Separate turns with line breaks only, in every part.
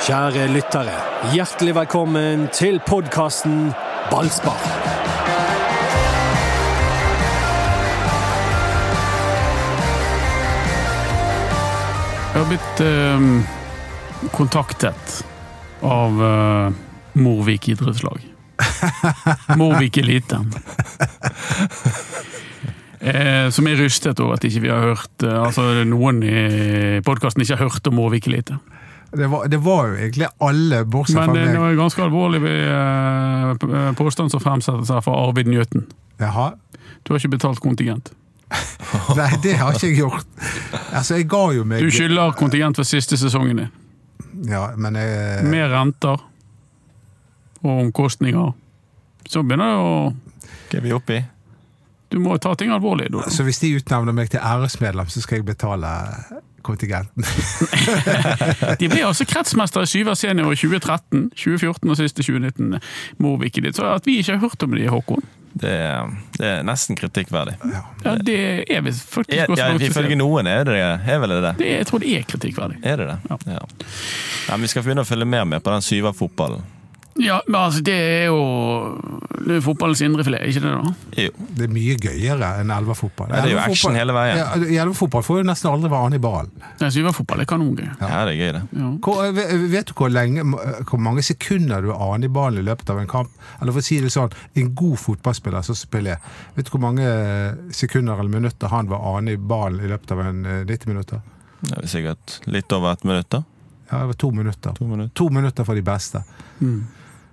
Kjære lyttere, hjertelig velkommen til podkasten Ballspar.
Jeg har blitt eh, kontaktet av eh, Morvik idrettslag. Morvik Eliten. Eh, som er rystet over at ikke vi har hørt eh, Altså noen i podkasten ikke har hørt om Morvik Elite.
Det var, det var jo egentlig alle, bortsett fra
Men eh, det
meg.
var en ganske alvorlig eh, p- eh, påstand som fremsettes her fra Arvid Njøten.
Jaha.
Du har ikke betalt kontingent.
Nei, det har ikke jeg gjort. Altså, jeg ga jo meg
Du skylder kontingent for siste sesongen din.
Ja, men eh, jeg,
Med renter og omkostninger. Så begynner det å
Hva er vi oppe i?
Du må ta ting alvorlig. Du.
Så hvis de utnevner meg til æresmedlem, så skal jeg betale kontingenten.
De ble altså kretsmester i Syver senior i 2013, 2014 og siste 2019. Morvik i ditt. Så at vi ikke har hørt om det, Håkon,
Det, er- det er nesten kritikkverdig.
ja, det er vi
Ja,
faktisk også
ja,
nødt til å
Ifølge
si.
noen er det er vel det. det.
det. Jeg tror det er kritikkverdig.
Er det det?
Ja.
Nei, men vi skal begynne å følge mer med på den syverfotballen.
Ja, men altså, det er jo det er fotballens indrefilet, ikke det da?
Jo.
Det er mye gøyere enn elverfotball.
Nei, det er jo action hele veien.
Ja, i elverfotball får du nesten aldri være an i ballen.
Nei, Syverfotball er kanongøy.
Ja. det er gøy, det.
Ja.
Hvor, eh, vet du hvor, lenge, eh, hvor mange sekunder du er an i ballen i løpet av en kamp? Eller for å si det sånn, en god fotballspiller som spiller, vet du hvor mange eh, sekunder eller minutter han var an i ballen i løpet av en eh, 90 minutter?
Det er sikkert litt over ett minutt, da.
Ja, det var to minutter.
To minutter.
To minutter for de beste.
Mm.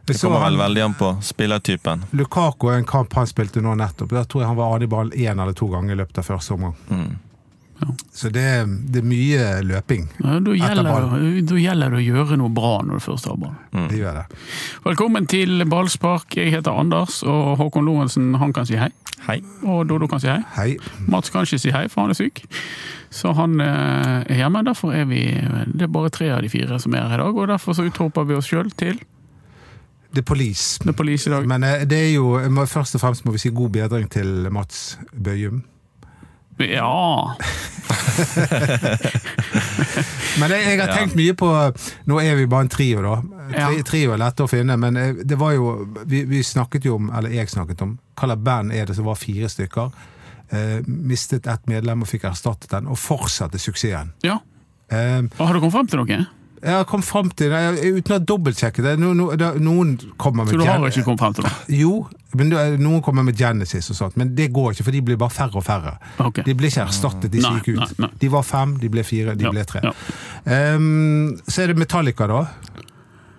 Jeg
Det
så
kommer
han,
vel veldig an på spillertypen.
Lukaku er en kamp han spilte nå nettopp. Da tror jeg han var an i ballen én eller to ganger i løpet av første omgang.
Mm.
Så det, er- det er mye løping.
Ja, da, gjelder,
Etterpå.
da gjelder det å gjøre noe bra når du først har ballen.
Det gjør det.
Velkommen til Ballspark. Jeg heter Anders, og Håkon Lorentzen han kan si hei.
Hei.
Og Dodo kan si hei.
Hei.
Mats kan ikke si hei, for han er syk. Så han eh, er hjemme. Derfor er vi Det er bare tre av de fire som er her i dag, og derfor så utroper vi oss sjøl til
Det er police.
The Police i dag.
Men eh, det er jo jeg må- Først og fremst må vi si god bedring til Mats Bøyum.
Ja
Men jeg, jeg har
Ja.
tenkt mye på Nå er vi bare en trio, da. Tri,
Ja.
Trio er lette å finne, men eh, det var jo vi, vi snakket jo om, eller jeg snakket om, hva slags band er det som var fire stykker? Eh, mistet ett medlem og fikk erstattet den, og fortsatte suksessen.
ja.
Eh,
Og Har du kommet frem til noe?
jeg kom frem til jeg, Uten å dobbeltsjekke det, no, no, det noen kommer
Så
med
du har
Gen-
ikke kommet frem til noe?
Jo, men det- noen kommer med Genesis og sånt, men det går ikke, for de blir bare færre og færre.
Ok.
De ble ikke erstattet, de som
Nei,
gikk ut.
nei, nei.
De var fem, de ble fire, de
Ja,
ble tre.
ja.
Ehm, så er det Metallica, da.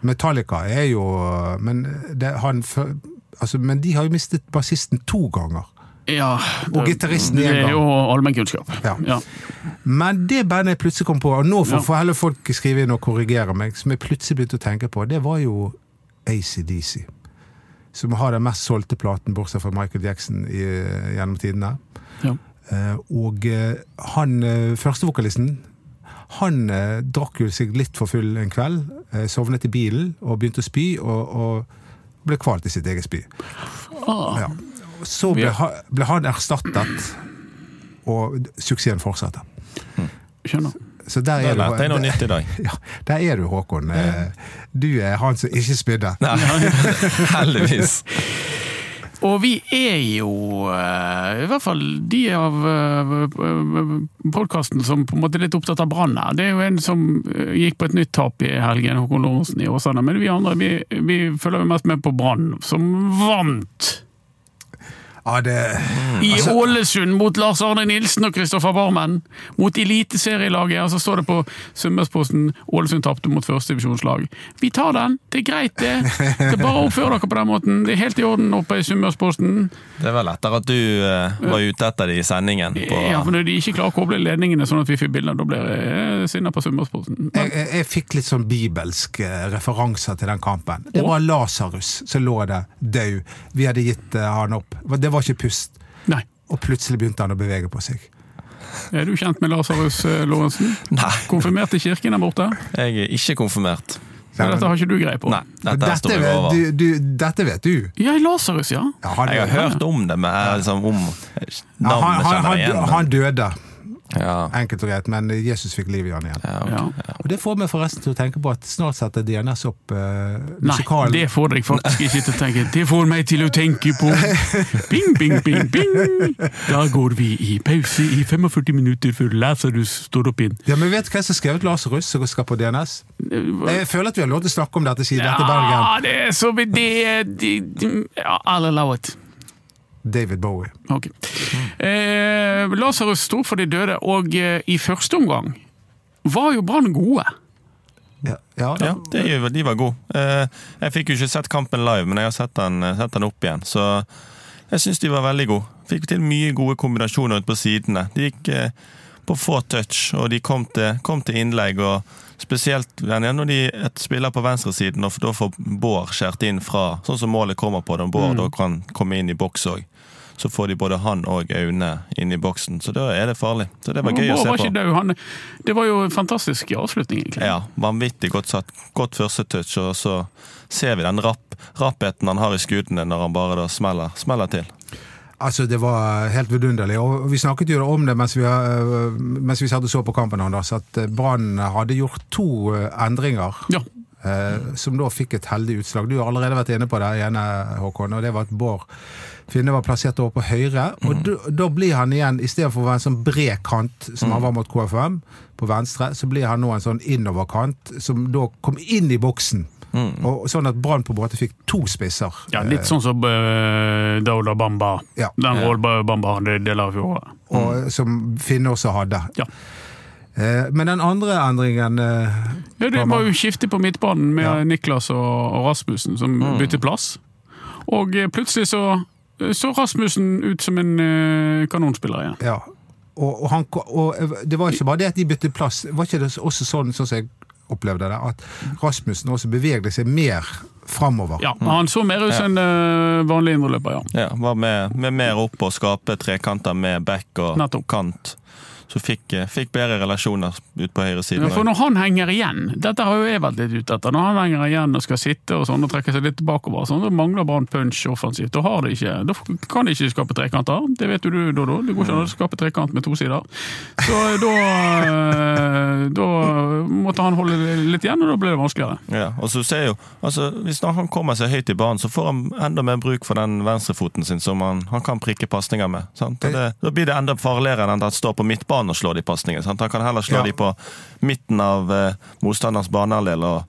Metallica er jo Men, det, han, fø- altså, men de har jo mistet bassisten to ganger.
Ja,
Og
det-
gitaristen
Det
en
er
gang.
jo allmennkunnskap.
Ja.
Ja.
Men det bandet jeg plutselig kom på, og nå
Ja.
får får heller folk skrive inn og korrigere meg, som jeg plutselig begynte å tenke på, det var jo ACDC. Som har den mest solgte platen, bortsett fra Michael Jackson, i, gjennom tidene.
Ja.
Eh, og eh, han eh, førstevokalisten han eh, drakk jo seg litt for full en kveld, eh, sovnet i bilen og begynte å spy, og, og ble kvalt i sitt eget spy.
Ah,
Ja. Så ble, ha- ble han erstattet, og d- suksessen fortsatte.
skjønner.
Så der
Da
er
lærte jeg
du,
noe nytt i dag.
ja, der er du, Håkon. Eh, Du er han som ikke spydde.
Nei, heldigvis.
Og vi er jo eh, i hvert fall de av podkasten som på en måte er litt opptatt av Brann her. Det er jo en som eh, gikk på et nytt tap i helgen, Håkon Lorentzen i Åsane. Men vi andre vi, vi følger jo mest med på Brann, som vant
Ja, det,
i Ålesund mot Lars Arne Nilsen og Kristoffer Barmen. Mot eliteserielaget. Og så står det på Sunnmørsposten Ålesund tapte mot førstedivisjonslag. Vi tar den! Det er greit, det. Det er bare å oppføre dere på den måten. Det er helt i orden oppe i Sunnmørsposten.
Det var lettere at du eh, var ute etter det i sendingen. På,
Ja, for Når de ikke klarer å koble ledningene sånn at vi får bilder, da blir jeg sinna på Sunnmørsposten.
jeg, jeg, jeg fikk litt sånn bibelske referanser til den kampen. Det
Å?
var Lasarus som lå der død. Vi hadde gitt eh, han opp. Det var ikke pust.
Nei.
Og plutselig begynte han å bevege på seg.
Er du kjent med Lasarus eh, Lorentzen?
Nei,
Konfirmert i kirken der borte?
jeg er ikke konfirmert.
Så dette har ikke du greie på?
Nei, dette her
dette,
står jeg
vet-
over.
du, du, dette vet du.
Ja, Lasarus, ja.
Ja, han,
Jeg har
døde.
hørt om det, men jeg er liksom om
Ja, han,
navnet
han,
kjenner jeg
han,
igjen.
han døde.
Ja.
Enkelt og greit, men Jesus fikk liv i han igjen.
Ja, ok.
Ja.
Og det får meg forresten til å tenke på at snart setter DNS opp eh,
Nei,
musikalen.
det får deg faktisk ikke til å tenke. Det får meg til å tenke på Bing, bing, bing, bing! Da går vi i pause i 45 minutter før Lasarus står opp igjen.
Ja, men Vet du hvem som har skrevet Lars Russ som skal på DNS? Jeg føler at vi har lov til å snakke om dette siden dette er Bergen.
Ja, det er så det, det, det ja, I'll allow it.
David Bowie.
Ok. Eh, Lasarus sto for de døde, og eh, i første omgang var jo Brann gode.
Ja, ja,
Ja, det, er jo- de var gode. Eh, Jeg fikk jo ikke sett kampen live, men jeg har sett den, sett den opp igjen. Så jeg syns de var veldig gode. Fikk til mye gode kombinasjoner ut på sidene. De gikk eh, på få touch, og de kom til, kom til innlegg. og Spesielt den ene når de et spiller på venstresiden, og da får Bård skåret inn fra Sånn som målet kommer på dem,
Mm.
Bård da kan komme inn i boks òg. Så får de både han og Aune inn i boksen, så da er det farlig. Så det var gøy å
Bård
se
var
på.
ikke død, han, det var jo en fantastisk avslutning, egentlig.
Ja, vanvittig godt satt. Godt første touch, og så ser vi den rapp, rappheten han har i skuddene når han bare da smeller, smeller til.
Altså, Det var helt vidunderlig. Og Vi snakket jo om det mens vi, eh, mens vi satt og så på kampen, Anders, at eh, Brann hadde gjort to eh, endringer.
Ja.
eh, Som da fikk et heldig utslag. Du har allerede vært inne på det ene, Håkon. og Det var at Bård Finne var plassert over på høyre. Og da, da blir han igjen, istedenfor å være en sånn bred kant som han var mot KFM, på venstre, så blir han nå en sånn innoverkant som da kom inn i boksen. Og Sånn at Brann på en måte fikk to spisser.
Ja, litt sånn som eh, Daula Bamba.
Ja.
Den Rolba Bamba hadde del av fjoråret.
og, som Finne også hadde.
Mm. Ja.
Eh, Men den andre endringen eh,
Ja, det var jo skifte på midtbanen med
Ja.
Niklas og og Rasmussen som
Mm.
byttet plass. Og eh, plutselig så eh, så Rasmussen ut som en eh, kanonspiller igjen.
Ja. Og, og, han, ko- og eh, det var ikke bare det at de byttet plass, var ikke det også sånn, sånn som jeg opplevde det, at Rasmussen også bevegde seg mer framover?
Ja,
Mm.
Han så mer ut som en eh, vanlig indreløper, ja.
Ja, var med, med mer opp og skape trekanter med back og
Nettopp.
kant. Så fikk, eh, fikk bedre relasjoner ut på
Ja,
høyresiden.
For når han henger igjen, dette har jo jeg vært litt ute etter, når han henger igjen og skal sitte og sånn og trekke seg litt bakover, sånn, da mangler Brann punch offensivt. Da, har det ikke, da f- kan de ikke skape trekanter. Det vet jo du, Dodo. Det går ikke
Mm.
an å skape trekant med to sider. Så da, eh, da måtte han holde litt igjen, og da ble det vanskeligere.
Ja, og så ser jo, altså Hvis han kommer seg høyt i banen, så får han enda mer bruk for den venstrefoten sin, som han, han kan prikke pasninger med. sant? Og det, da blir det enda farligere enn at han står på midtbanen og slår de pasningene. sant? Han kan heller slå
Ja.
de på midten av eh, motstanders banehalvdel og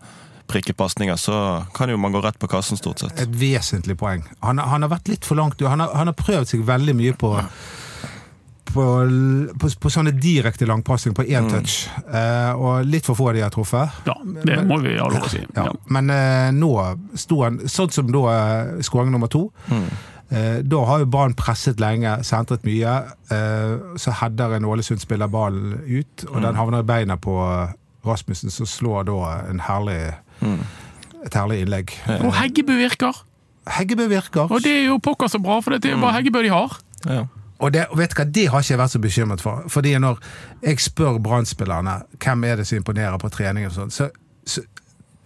prikke pasninger. Så kan jo man gå rett på kassen, stort sett.
Et vesentlig poeng. Han, har- han har vært litt for langt. Han har, han har prøvd seg veldig mye på på, på, på sånne direkte langpassing på
Mm.
én touch. Eh, og litt for få av de har truffet.
Ja, det må vi ha lov å si.
Ja.
Ja.
Men eh, nå sto han Sånn som da eh, skåring nummer to.
Mm.
Eh, da har jo Brann presset lenge, sentret mye. Eh, så header en Ålesund-spiller ballen ut, og
Mm.
den havner i beina på eh, Rasmussen, som slår da en herlig
Mm.
et herlig innlegg.
Og Heggebø virker!
Heggebø virker.
Og det er jo pokker så bra, for det er bare
Mm.
Heggebø de har.
Ja.
Og det, og vet du hva, det har ikke jeg vært så bekymret for. Fordi når jeg spør Brann-spillerne hvem er det som imponerer på trening, og sånn, så, så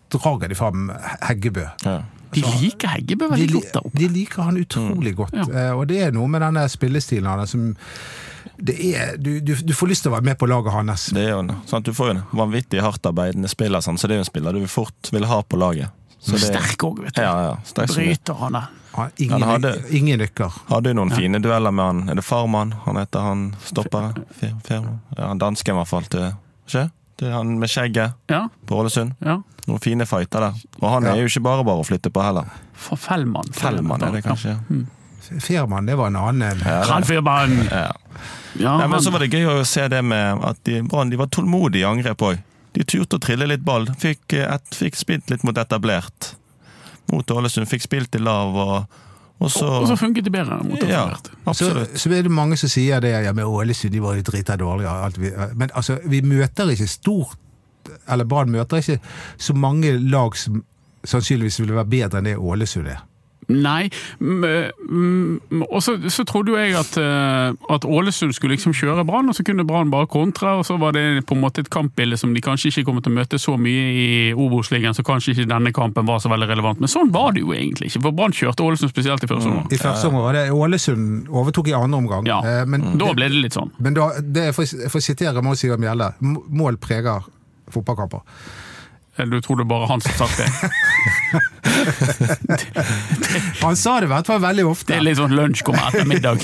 drager de fram Heggebø.
Ja.
De
Altså,
liker Heggebø
De,
veldig
li-
godt der oppe.
de liker han utrolig godt.
Mm. Ja.
Eh, og det er noe med denne spillestilen hans som det er, du, du, du får lyst til å være med på laget hans.
Det er jo en, sant? Du får jo en vanvittig hardtarbeidende spiller, sant? så det er jo en spiller du fort vil ha på laget. Så det,
Sterk òg, vet du.
Ja, ja. Sterk som det.
Bryter han der.
Han, ingen,
Han hadde-
ingen nykker.
Hadde jo noen fine dueller med han. Er det Farman han heter, han stopperen? Fir- Firman? Ja, han dansken i hvert fall. Til, ikke? Til han med skjegget
Ja,
på Ålesund.
ja.
Noen fine fighter der. Og han
Ja.
er jo ikke bare bare å flytte på heller.
Fra Fellmann.
Fellmann er det kanskje.
Mm.
Fehrmann, det var en annen. eh,
Ja. Karl Firmann!
Ja.
Ja,
Nei, men
han-
så var det gøy å se det med at de, Brann de var tålmodige i angrep òg. De turte å trille litt ball. Fikk, eh, et, fikk spilt litt mot etablert. Mot Ålesund. Fikk spilt i lav, og, og så
og så funket det bedre mot
Ja,
etablert.
Så,
absolutt.
altså, så er det mange som sier det ja, men Ålesund de var jo drita dårlige. og Alt vi, men altså, vi møter ikke stort Eller Brann møter ikke så mange lag som sannsynligvis ville være bedre enn det Ålesund er.
Nei. m- m- Og så, så trodde jo jeg at, eh, at Ålesund skulle liksom kjøre Brann, og så kunne Brann bare kontre. Og så var det på en måte et kampbilde som de kanskje ikke kommer til å møte så mye i Obos-ligaen, så kanskje ikke denne kampen var så veldig relevant. Men sånn var det jo egentlig ikke, for Brann kjørte Ålesund spesielt i første omgang.
I første omgang var det Ålesund overtok i andre omgang.
Ja.
Eh, Men,
Mm.
Da ble det litt sånn.
men da, det er for, for å sitere Maud Sigurd Mjelde, m- mål preger fotballkamper.
Eller du tror det er bare han som har sagt det.
Han sa det i hvert fall veldig ofte.
Det er litt sånn lunsj kommer etter middag.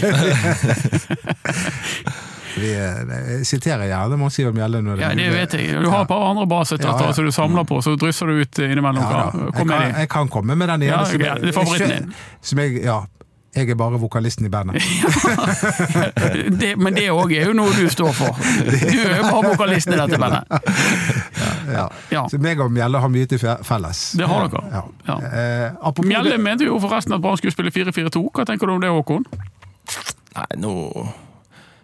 Vi, eh, jeg siterer gjerne Maud Sigurd Mjelde. Når
Ja, det vet jeg. Du har et par andre
Ja, ja.
basetter som du samler på, så drysser du ut innimellom.
Ja, da.
hva-
jeg,
Kom
kan,
med de.
jeg kan komme med den ene.
Ja,
som
greit. Det er favoritten din.
Som jeg, ja, jeg er bare vokalisten i bandet.
Det, men det òg er jo noe du står for. Du er jo bare vokalisten i dette bandet.
Ja.
Ja.
Så meg og Mjelde har mye til fe- felles.
Det har dere.
Ja.
Ja.
Eh, apropos
Mjelde
det-
mente jo forresten at Brann skulle spille 4-4-2. Hva tenker du om det, Håkon?
Nei, nå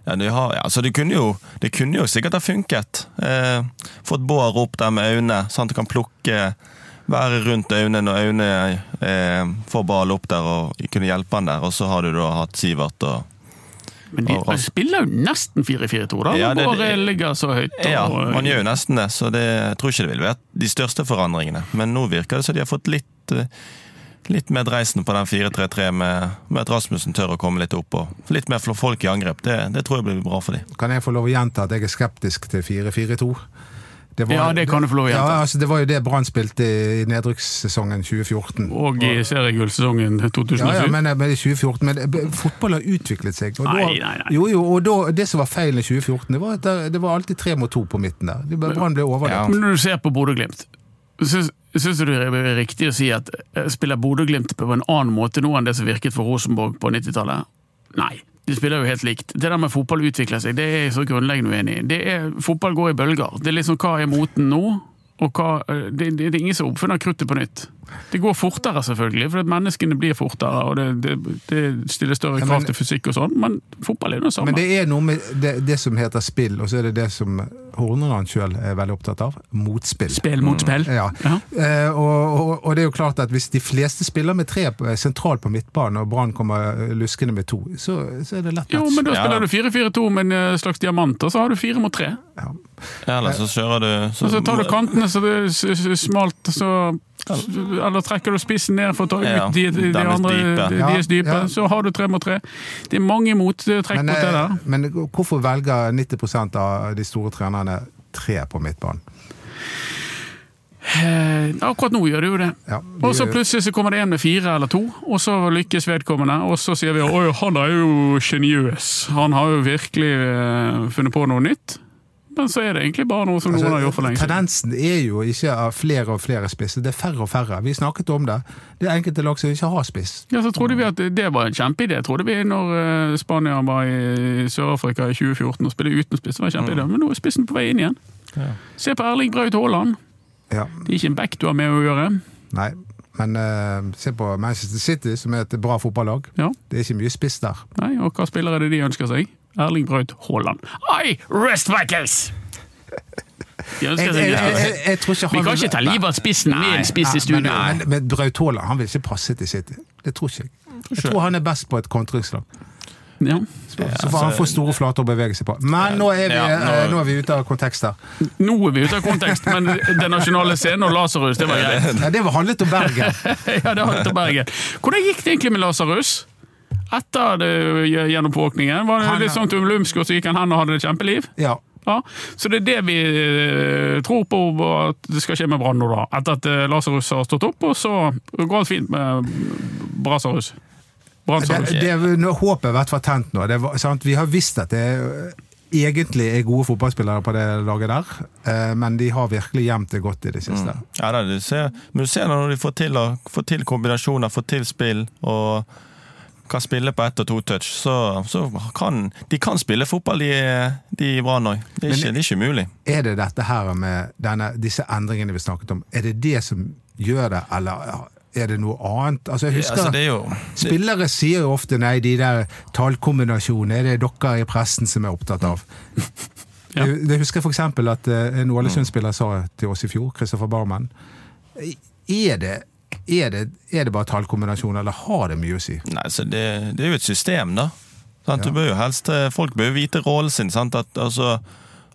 ja, de har, ja, altså, det, kunne jo, det kunne jo sikkert ha funket. Eh, fått Bård opp der med Aune, sånn at du kan plukke Være rundt Aune når Aune eh, får ballen opp der og kunne hjelpe han der. Og så har du da hatt Sivert og
Men de, de spiller jo nesten 4-4-2, da.
Ja,
Ja,
det-
Bare ligger så høyt. Og,
Ja, man gjør jo nesten det, så det jeg tror ikke det vil være de største forandringene. Men nå virker det som de har fått litt, eh, litt mer dreisen på den 4-3-3 med, med at Rasmussen tør å komme litt opp og litt mer fl- folk i angrep. Det, det tror jeg blir bra for dem.
Kan jeg få lov å gjenta at jeg er skeptisk til 4-4-2? Det
Ja, det kan du få lov å gjenta.
Ja, altså, det var jo det Brann spilte i i nedrykkssesongen 2014.
og i seriegullsesongen 2007.
Ja, ja, men, men i 2014, men eh, fotball har utviklet seg. og da-
Nei, nei, nei.
Jo, jo, og da, det som var feilen i 2014, det var at det- det var alltid tre mot to på midten der. Det- Brann ble
Ja.
overlevd.
Men når du ser på Bodø-Glimt, syns syns du det er riktig å si at eh, spiller Bodø-Glimt på en annen måte nå enn det som virket for Rosenborg på 90-tallet? Nei. De spiller jo helt likt. Det der med fotball utvikler seg, det er jeg så grunnleggende uenig i. Det er, fotball går i bølger. Det er liksom hva er moten nå? Og hva, eh, det, det, det er ingen som oppfinner kruttet på nytt. Det går fortere, selvfølgelig, for menneskene blir fortere, og det, det, det stiller større
Ja,
krav
men-
til fysikk og sånn, men fotball er jo det samme.
Men det er noe med det, det som heter spill, og så er det det som Horneland sjøl er veldig opptatt av. Motspill.
Spill mot spill.
Ja.
Ja.
Eh, og, og, og det er jo klart at hvis de fleste spiller med tre på- sentralt på midtbanen, og Brann kommer eh, luskende med to, så, så er det lett
Jo, men da
Ja.
spiller du 4-4-2 med en eh, slags diamant, og så har du fire mot tre.
Eller så kjører du
Og så tar du kantene så det er s- s- smalt, så Eller trekker du spissen ned for å ta ut
Ja,
de, de, de
deres
andre
dype.
de,
Ja,
deres dype.
ja.
Så har du tre mot tre. Det er mange mottrekk
Men,
mot det der.
eh, men hvorfor velger 90 av de store trenerne tre på midtbanen?
Eh, Akkurat nå gjør det jo det.
Ja, de
Og så
gjør-
plutselig så kommer det en med fire eller to, og så lykkes vedkommende. Og så sier vi at han er jo geniøs, han har jo virkelig eh, funnet på noe nytt. Men så er det egentlig bare noe som noen har gjort for lenge siden.
Altså, tendensen er jo ikke av flere og flere spisser, det er færre og færre. Vi snakket om det. Det er enkelte lag som ikke har spiss.
Ja, så trodde vi at det var en kjempeidé. Trodde vi når eh, Spania var i Sør-Afrika i 2014 og spilte uten spiss, det var en kjempeidé. Men nå er spissen på vei inn igjen. Se på Erling Braut Haaland.
Ja,
Det er ikke en back du har med å gjøre.
nei. Men eh, se på Manchester City, som er et bra fotballag.
Ja,
Det er ikke mye spiss der.
nei, Og hva spiller er det de ønsker seg? Erling Braut Haaland. I rest my case! De ønsker
Jeg,
seg
jeg,
ikke
jeg,
det.
jeg, jeg tror ikke han
Vi kan
vil-
ikke ta livet av spissen med en spiss
Nei,
i studio.
Men, men, men Braut Haaland han vil ikke passe til City. Det tror ikke jeg. Jeg tror han er best på et kontringslag.
Ja.
Så så får han få store flater å bevege seg på. Men nå er vi,
Ja, nå-
eh, nå er vi ute av kontekst her.
Nå er vi ute av kontekst, men Den nasjonale scenen og Lasarus, det var greit.
Nei, det var handlet om Bergen.
Ja, det har vi til Bergen. Hvordan gikk det egentlig med Lasarus? Etter det, gjennomvåkningen? Var det
Han-
litt sånn til lumsk, og så gikk han hen og hadde et kjempeliv?
Ja.
Ja, Så det er det vi eh, tror på og at det skal skje med Brann nå, da. Etter at eh, Lasarus har stått opp, og så går alt fint med eh, Brasarus.
Det,
Brannsarus.
Altså, det, nå- håpet har vært fortent nå. Det var, sant? Vi har visst at det eh, egentlig er gode fotballspillere på det laget der, eh, men de har virkelig gjemt det godt i det siste.
Ja, da, du ser, men du ser når de får til, å- får til kombinasjoner, får til spill og kan spille på ett og to touch, så, så kan de kan spille fotball, de, de i Brann òg. Det, er
Men-
ikke- det er ikke umulig.
Er det dette her med denne, disse endringene vi snakket om, er det det som gjør det, eller er det noe annet? Altså, jeg husker...
Altså, det er jo
Spillere sier jo ofte nei, de der tallkombinasjonene er det dere i pressen som er opptatt av.
Ja.
Jeg, jeg husker f.eks.
Mm.
at eh, en Ålesund-spiller sa til oss i fjor, Kristoffer Barmen, er det Er det, er det bare tallkombinasjoner, eller har det mye å si?
Nei, så det, det er jo et system, da. Sant? Du bør jo helst, eh, folk bør jo vite rollen sin. Sant? At, altså,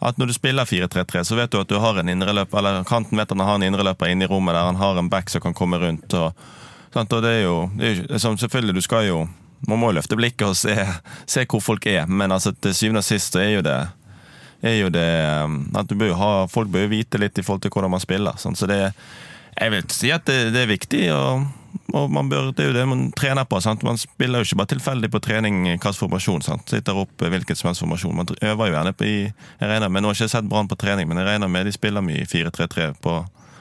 at når du spiller 4-3-3, så vet du at du har en indreløper, eller kanten vet at han har en indreløper inne i rommet der han har en back som kan komme rundt. Og, sant? og det er jo, det er jo som Selvfølgelig, du skal jo Man må jo løfte blikket og se, se hvor folk er, men altså, til syvende og sist så er jo det er jo det um, at du bør jo ha, Folk bør jo vite litt i forhold til hvordan man spiller. Sånn. Så det, jeg vil si at det, det er viktig, og, og man bør, det er jo det man trener på. Sant? Man spiller jo ikke bare tilfeldig på trening hvilken formasjon. Sant? Sitter opp eh, hvilken som helst formasjon. Man øver jo gjerne på i jeg regner med, Nå har jeg ikke sett Brann på trening, men jeg regner med de spiller mye i 4-3-3 på-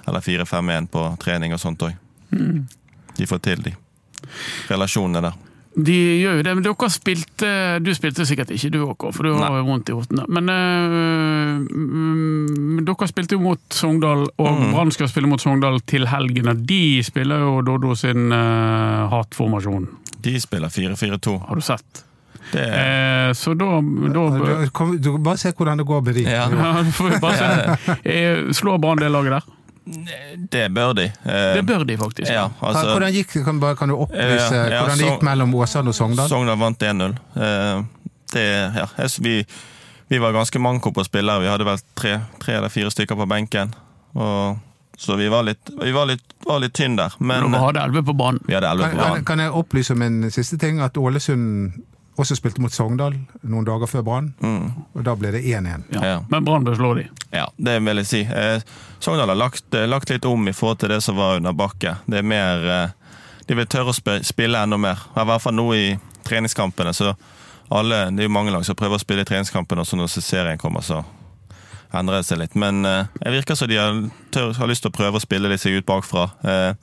eller 4-5-1 på trening og sånt òg.
Mm.
De får til, de. Relasjonene der.
De gjør jo det, men dere spilte Du spilte sikkert ikke du, Håkon, for du har
Nei.
jo vondt i hotene. Men øh, mm, dere spilte jo mot Sogndal, og
Mm.
Brann skal spille mot Sogndal til helgen. Og de spiller jo Doddo sin øh, hatformasjon,
De spiller 4-4-2.
har du sett.
Det er
Eh, så da, da
Du, kom, du kan bare se hvordan det går med de.
Eh,
Ja.
ja, du får jo bare se. Eh, Slår Brann det laget der?
Det bør de. Eh,
Det bør de faktisk.
ja, altså,
hvordan gikk, det? kan, bare, kan du opplyse
Ja, ja,
hvordan det
så-
gikk mellom Åsane og Sogndal?
Sogndal vant 1-0. Eh, det, ja, jeg, vi, vi var ganske manko på spillere. Vi hadde vel tre, tre eller fire stykker på benken. Og, så vi var litt, vi var litt, var litt tynn der. Men eh,
Dere hadde elleve på banen.
vi hadde elleve
Kan,
på
kan,
banen.
kan jeg opplyse om en siste ting? At Ålesund også spilte mot Sogndal noen dager før Brann,
Mm.
og da ble det 1-1.
Ja.
Ja.
Men Brann bør slå de.
Ja, det vil jeg si. Eh, Sogndal har lagt, eh, lagt litt om i forhold til det som var under bakke. Det er mer eh, De vil tørre å sp spille enda mer. I hvert fall nå i treningskampene. Så alle, det er jo mange lag som prøver å spille i treningskampene, og så når serien kommer, så endrer det seg litt. Men eh, det virker som de har, tør, har lyst til å prøve å spille de seg ut bakfra. Eh,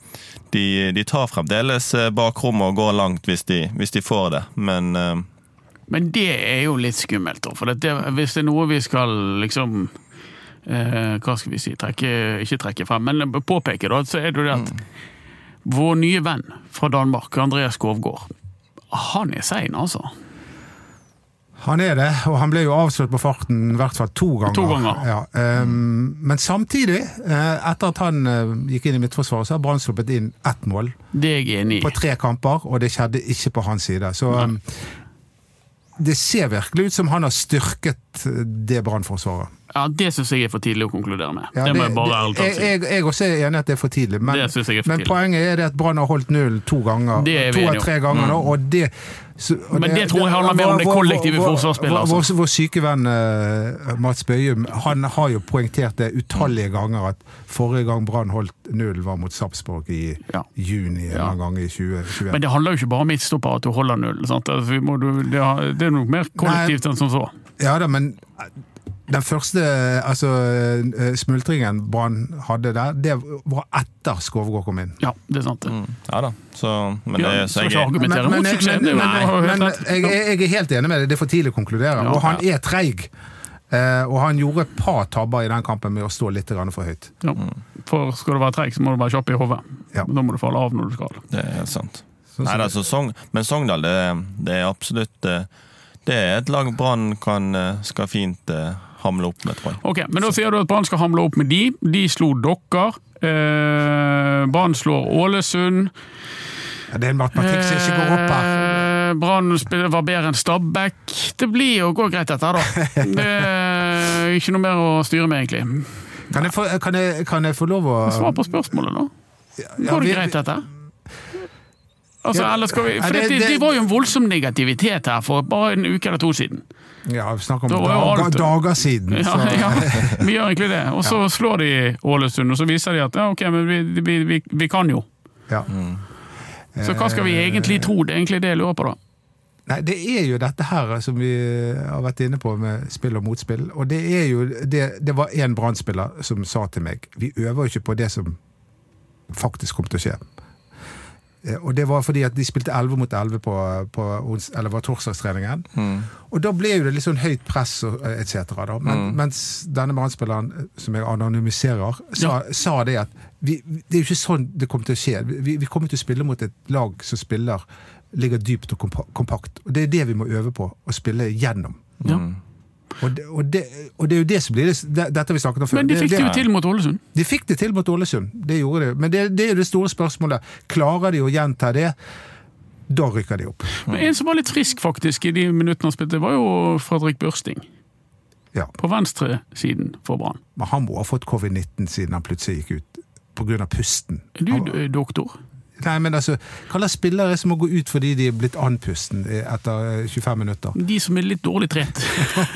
de, de tar fremdeles eh, bakrommet og går langt hvis de, hvis de får det, men eh,
Men det er jo litt skummelt, da. For det, hvis det er noe vi skal liksom eh, Hva skal vi si trekke, Ikke trekke frem, men påpeke, da, så er det jo det at
Mm.
vår nye venn fra Danmark, Andreas Skovgård, han er sein, altså.
Han er det, og han ble jo avslørt på farten i hvert fall to ganger.
To ganger. Mm.
Ja, ehm, men samtidig, eh, etter at han eh, gikk inn i midtforsvaret, så har Brann sluppet inn ett mål
Det er jeg enig
på
i.
tre kamper, og det skjedde ikke på hans side. Så ehm, det ser virkelig ut som han har styrket eh, det Brann-forsvaret.
Ja, det syns jeg er for tidlig å konkludere med.
Ja,
det, må jeg bare ærlig
det-
talt si.
jeg, jeg, jeg også er enig i at det er for tidlig, men,
Det synes jeg er for
men
tidlig.
poenget er det at Brann har holdt nullen to ganger.
Det er vi enige
To av
om. Mm.
tre ganger nå, og det så- og
Men det tror jeg handler mer om det
vår- vår-
kollektive
vår-
forsvarsspillet,
Vår,
altså.
vår, vår syke venn eh, Mats Bøyum han har jo poengtert det utallige ganger at forrige gang Brann holdt nullen, var mot Sarpsborg i
Ja.
juni en
Ja.
annen gang i 2021.
Men det handler jo ikke bare om midtstopper at du holder null. Sant? Altså, vi må, du, det, har- det er nok mer kollektivt enn som så.
Ja da, men eh, den første altså, eh, smultringen Brann hadde der, det var etter Skovgård kom inn.
Ja, det er sant. det.
Mm. ja da. Så, men det,
Ja,
så
skal
jeg,
ikke
er-
argumentere mot suksessen. det er jo det du har
Mm. men,
helt
men
rett.
jeg, jeg er helt enig med deg. Det er for tidlig å konkludere.
Ja.
og han er treig. Eh, og han gjorde et par tabber i den kampen med å stå litt grann for høyt.
Ja. For skal du være treig, så må du være kjapp i hodet.
Ja.
Da må du falle av når du skal.
det er helt sant.
Sånn som
Nei,
det-
altså, Sogn, men Sogndal, det, det er absolutt eh, Det er et lag Brann kan, eh, skal fint eh, hamle opp med, tror jeg.
Ok, Men da sier du at Brann skal hamle opp med de. De slo dere. Eh, Brann slår Ålesund.
Ja, det er en matematikk som ikke går opp her.
Eh, Brann spiller- var bedre enn Stabæk. Det blir jo går greit, dette her, da. Det er ikke noe mer å styre med, egentlig.
Kan jeg få, kan jeg, kan jeg få lov å
Svar på spørsmålet, da.
Ja,
Går det
vi-
greit, dette? Altså,
Ja,
eller skal vi,
ja,
for
det-
det, det,
det-
var jo en voldsom negativitet her for bare en uke eller to siden.
Ja, vi snakker om
Da var jo
dager,
alt-
dager siden.
Ja,
Så,
ja, vi gjør egentlig det. Og så slår de Ålesund, og så viser de at ja, ok, men vi, vi, vi, vi kan jo.
ja.
Så hva skal
Eh,
vi egentlig tro? Det er egentlig det jeg lurer på, da.
Nei, det er jo dette her som vi eh, har vært inne på med spill og motspill. Og det er jo Det, det var én Brann-spiller som sa til meg Vi øver jo ikke på det som faktisk kom til å skje. Eh, Og det var fordi at de spilte 11 mot 11 på, på ons, eller var torsdagstreningen. Og da ble jo det litt sånn høyt press og eh, et cetera, da. Men, Mens denne brannspilleren, eh, som jeg anonymiserer, sa, sa det at vi, det er jo ikke sånn det kommer til å skje. Vi, vi kommer til å spille mot et lag som spiller ligger dypt og kompa- kompakt. Og det er det vi må øve på, å spille gjennom.
Ja.
Og det, og, det, og det er jo det som blir det, det- dette har vi snakket om før.
Men de
Det-
fikk
det-
det jo til mot Ålesund.
De fikk det til mot Ålesund, det gjorde de. Men det, det er jo det store spørsmålet. Klarer de å gjenta det? Da rykker de opp.
Men En som var litt frisk faktisk i de minuttene han spilte, var jo Fredrik Børsting.
Ja.
På venstresiden for Brann.
Men han må ha fått covid-19 siden han plutselig gikk ut. På grunn av pusten.
Er du
Han-
eh, doktor?
Nei, men altså, Hva slags spillere er det som må gå ut fordi de er blitt andpusten eh, etter eh, 25 minutter?
De som er litt dårlig trent.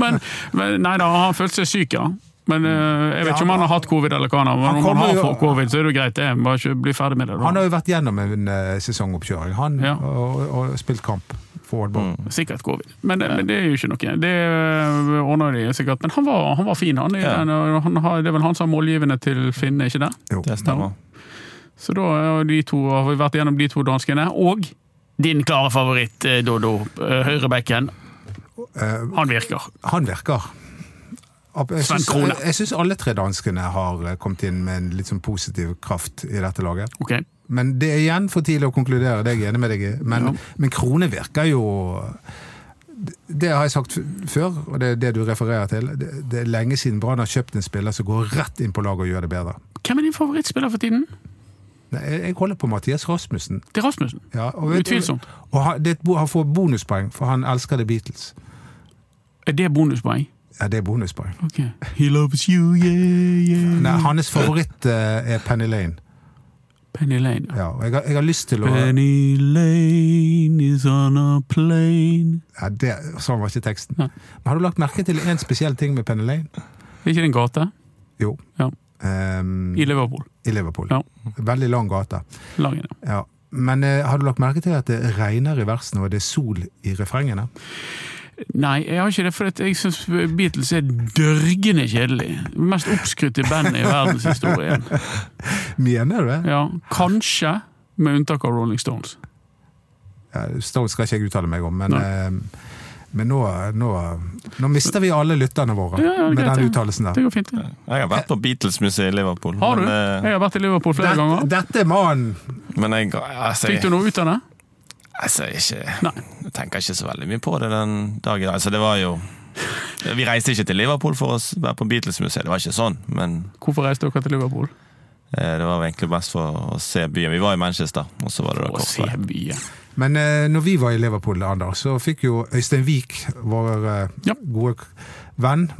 men, men nei da, han følte seg syk, ja. Men eh, jeg vet
Ja,
ikke om han har hatt covid eller hva han har. Men
han
om han
kommer
har
jo-
fått covid, så er det jo greit. det. Bare ikke bli ferdig med det.
Han
da.
har jo vært gjennom en eh, sesongoppkjøring, han,
Ja.
og, og, og spilt kamp for Oddborg.
Sikkert covid. Men, men det er jo ikke noe. Det eh, ordner de sikkert. Men han var, han var fin, han.
Ja.
Han, han har, det er vel han som er målgivende til Finne, ikke det?
Jo.
Det stemmer.
Så da er de to, har vi vært gjennom de to danskene, og din klare favoritt, eh, Dodo, eh, høyrebekken.
Eh,
Han virker.
Han virker. Ab- Jeg
Sven
syns-
Krone.
jeg- jeg syns alle tre danskene har eh, kommet inn med en litt sånn positiv kraft i dette laget.
Ok.
Men det er igjen for tidlig å konkludere, det er jeg enig med deg i. Men,
Ja.
men Krone virker jo Det har jeg sagt f- før, og det er det du refererer til. Det, det er lenge siden Brann har kjøpt en spiller som går rett inn på laget og gjør det bedre.
Hvem er din favorittspiller for tiden?
Nei, Jeg jeg holder på Mathias Rasmussen.
Det er Rasmussen.
Ja, og
Utvilsomt.
Og han, det er et bo- han får bonuspoeng, for han elsker The Beatles.
Er det bonuspoeng?
Ja, det er bonuspoeng.
Ok. He loves you, yeah, yeah.
Nei, hans favoritt eh, er Penny Lane.
Penny Lane.
Ja, og jeg, har, jeg har lyst til å
Penny Lane is on a plane.
ja, det, Sånn var ikke teksten.
Nei.
Men har du lagt merke til én spesiell ting med Penny Lane?
Er ikke det en gate?
Jo.
Ja.
Ehm,
I Liverpool.
i Liverpool.
Ja.
Veldig lang gate.
Lang er det.
Ja. Men eh, har du lagt merke til at det regner i versene og det er sol i refrengene?
Nei, jeg har ikke det, for at jeg syns Beatles er dørgende kjedelig. Det Mest oppskrytte bandet i verdenshistorien.
Mener du det? Ja.
Ja, kanskje, med unntak av Rolling Stones.
Stones skal ikke jeg uttale meg om, men,
Nei.
eh, men nå, nå, nå mister vi alle lytterne våre
Ja, ja, det er
med
greit,
den
ja.
uttalelsen der.
Det går fint. det.
Jeg har vært på Beatles-museet i Liverpool.
Har du?
Men, eh,
Jeg har vært i Liverpool flere
Dette,
ganger.
dette er mannen!
men jeg, altså,
Fikk
jeg,
du noe ut av det?
altså, ikke,
Nei.
jeg tenker ikke så veldig mye på det den dag i dag. Altså, det var jo Vi reiste ikke til Liverpool for å s- være på Beatles-museet, det var ikke sånn. Men
Hvorfor reiste dere til Liverpool?
eh, det var egentlig best for å se byen. Vi var i Manchester, og så var det da
Å se
kortfilm.
byen.
Men eh, når vi var i Liverpool, Anders, så fikk jo Øystein Wiik, vår eh,
Ja.
gode k- venn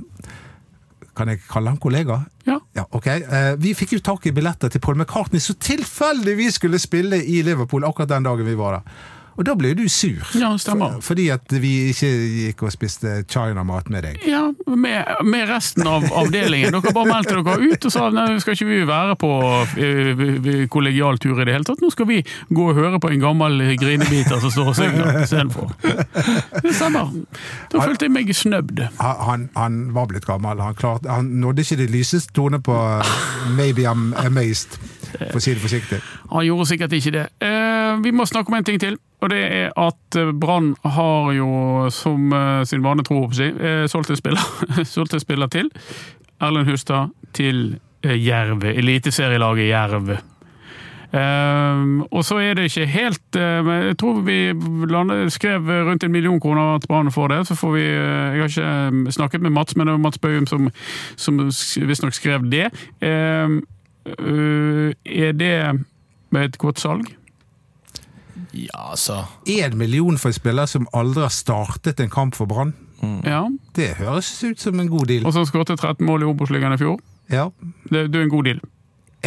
Kan jeg kalle han kollega?
Ja.
Ja, ok. Eh, vi fikk jo tak i billetter til Paul McCartney, som tilfeldigvis skulle spille i Liverpool akkurat den dagen vi var der. Og da ble jo du sur.
Ja, stemmer.
Fordi at vi ikke gikk og spiste chinamat med deg.
Ja, med, med resten av avdelingen. Dere bare meldte dere ut og sa nei, skal ikke vi være på eh, vi- vi- kollegial tur i det hele tatt. Nå skal vi gå og høre på en gammel grinebiter som står og synger istedenfor. Det stemmer. Da følte jeg meg snøbd.
Han, han, han var blitt gammel. Han, klarte- han nådde ikke det lyseste tone på eh, 'Maybe I'm Amazed', for å si det forsiktig.
Han gjorde sikkert ikke det. Eh, vi må snakke om en ting til. Og det er at eh, Brann har jo, som eh, sin vane tro, håper jeg, eh, solgt en spiller, solgt en spiller til. Erlend Hustad til eh, Jerv. Eliteserielaget Jerv. Eh, og så er det ikke helt eh, men Jeg tror vi landet, skrev rundt en million kroner at Brann får det. Så får vi eh, Jeg har ikke eh, snakket med Mats, men det var Mats Bøhum som, som visstnok skrev det. Eh, eh, er det med et godt salg.
Ja, altså.
Én million for en spiller som aldri har startet en kamp for Brann.
Ja.
Det høres ut som en god deal.
Og så skåret 13 mål i Obos-ligaen i fjor.
Ja,
Det, det er en god deal.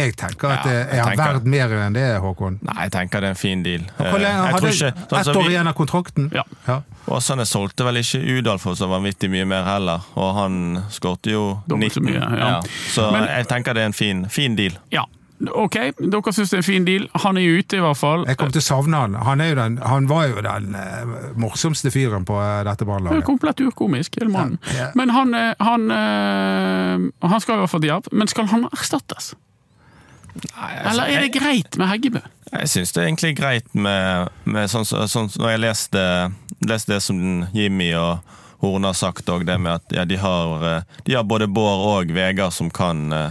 jeg tenker at
Ja,
det
jeg
er han
tenker
verdt mer enn det, Håkon.
Nei, jeg tenker det er en fin deal. Eh,
Hvor lenge
Jeg
har
tror
du?
ikke, sånn
Ett
som
år
vi,
igjen av kontrakten?
Ja.
Ja.
Åsane solgte vel ikke Udal for så vanvittig mye mer heller, og han skårte jo
Dobbelt så
19.
mye, ja.
Så
Men-
jeg tenker det er en fin, fin deal.
Ja. Ok, dere syns det er en fin deal. Han er ute, i hvert fall.
Jeg kommer til å savne han. Han, er jo den, han var jo den eh, morsomste fyren på eh, dette
Det er
brannlaget.
komplett urkomisk, hele mannen.
Ja, ja.
Men han, eh, han, eh, han skal i hvert fall til Jerv. Men skal han erstattes?
Nei, altså,
Eller er det greit med Heggebø?
Jeg syns det er egentlig greit med, med sånn, som- sånn som- Når jeg leste, leste det som Jimmy og Horne har sagt, og det med at ja, de, har, eh, de har både Bård og Vegard som kan, eh,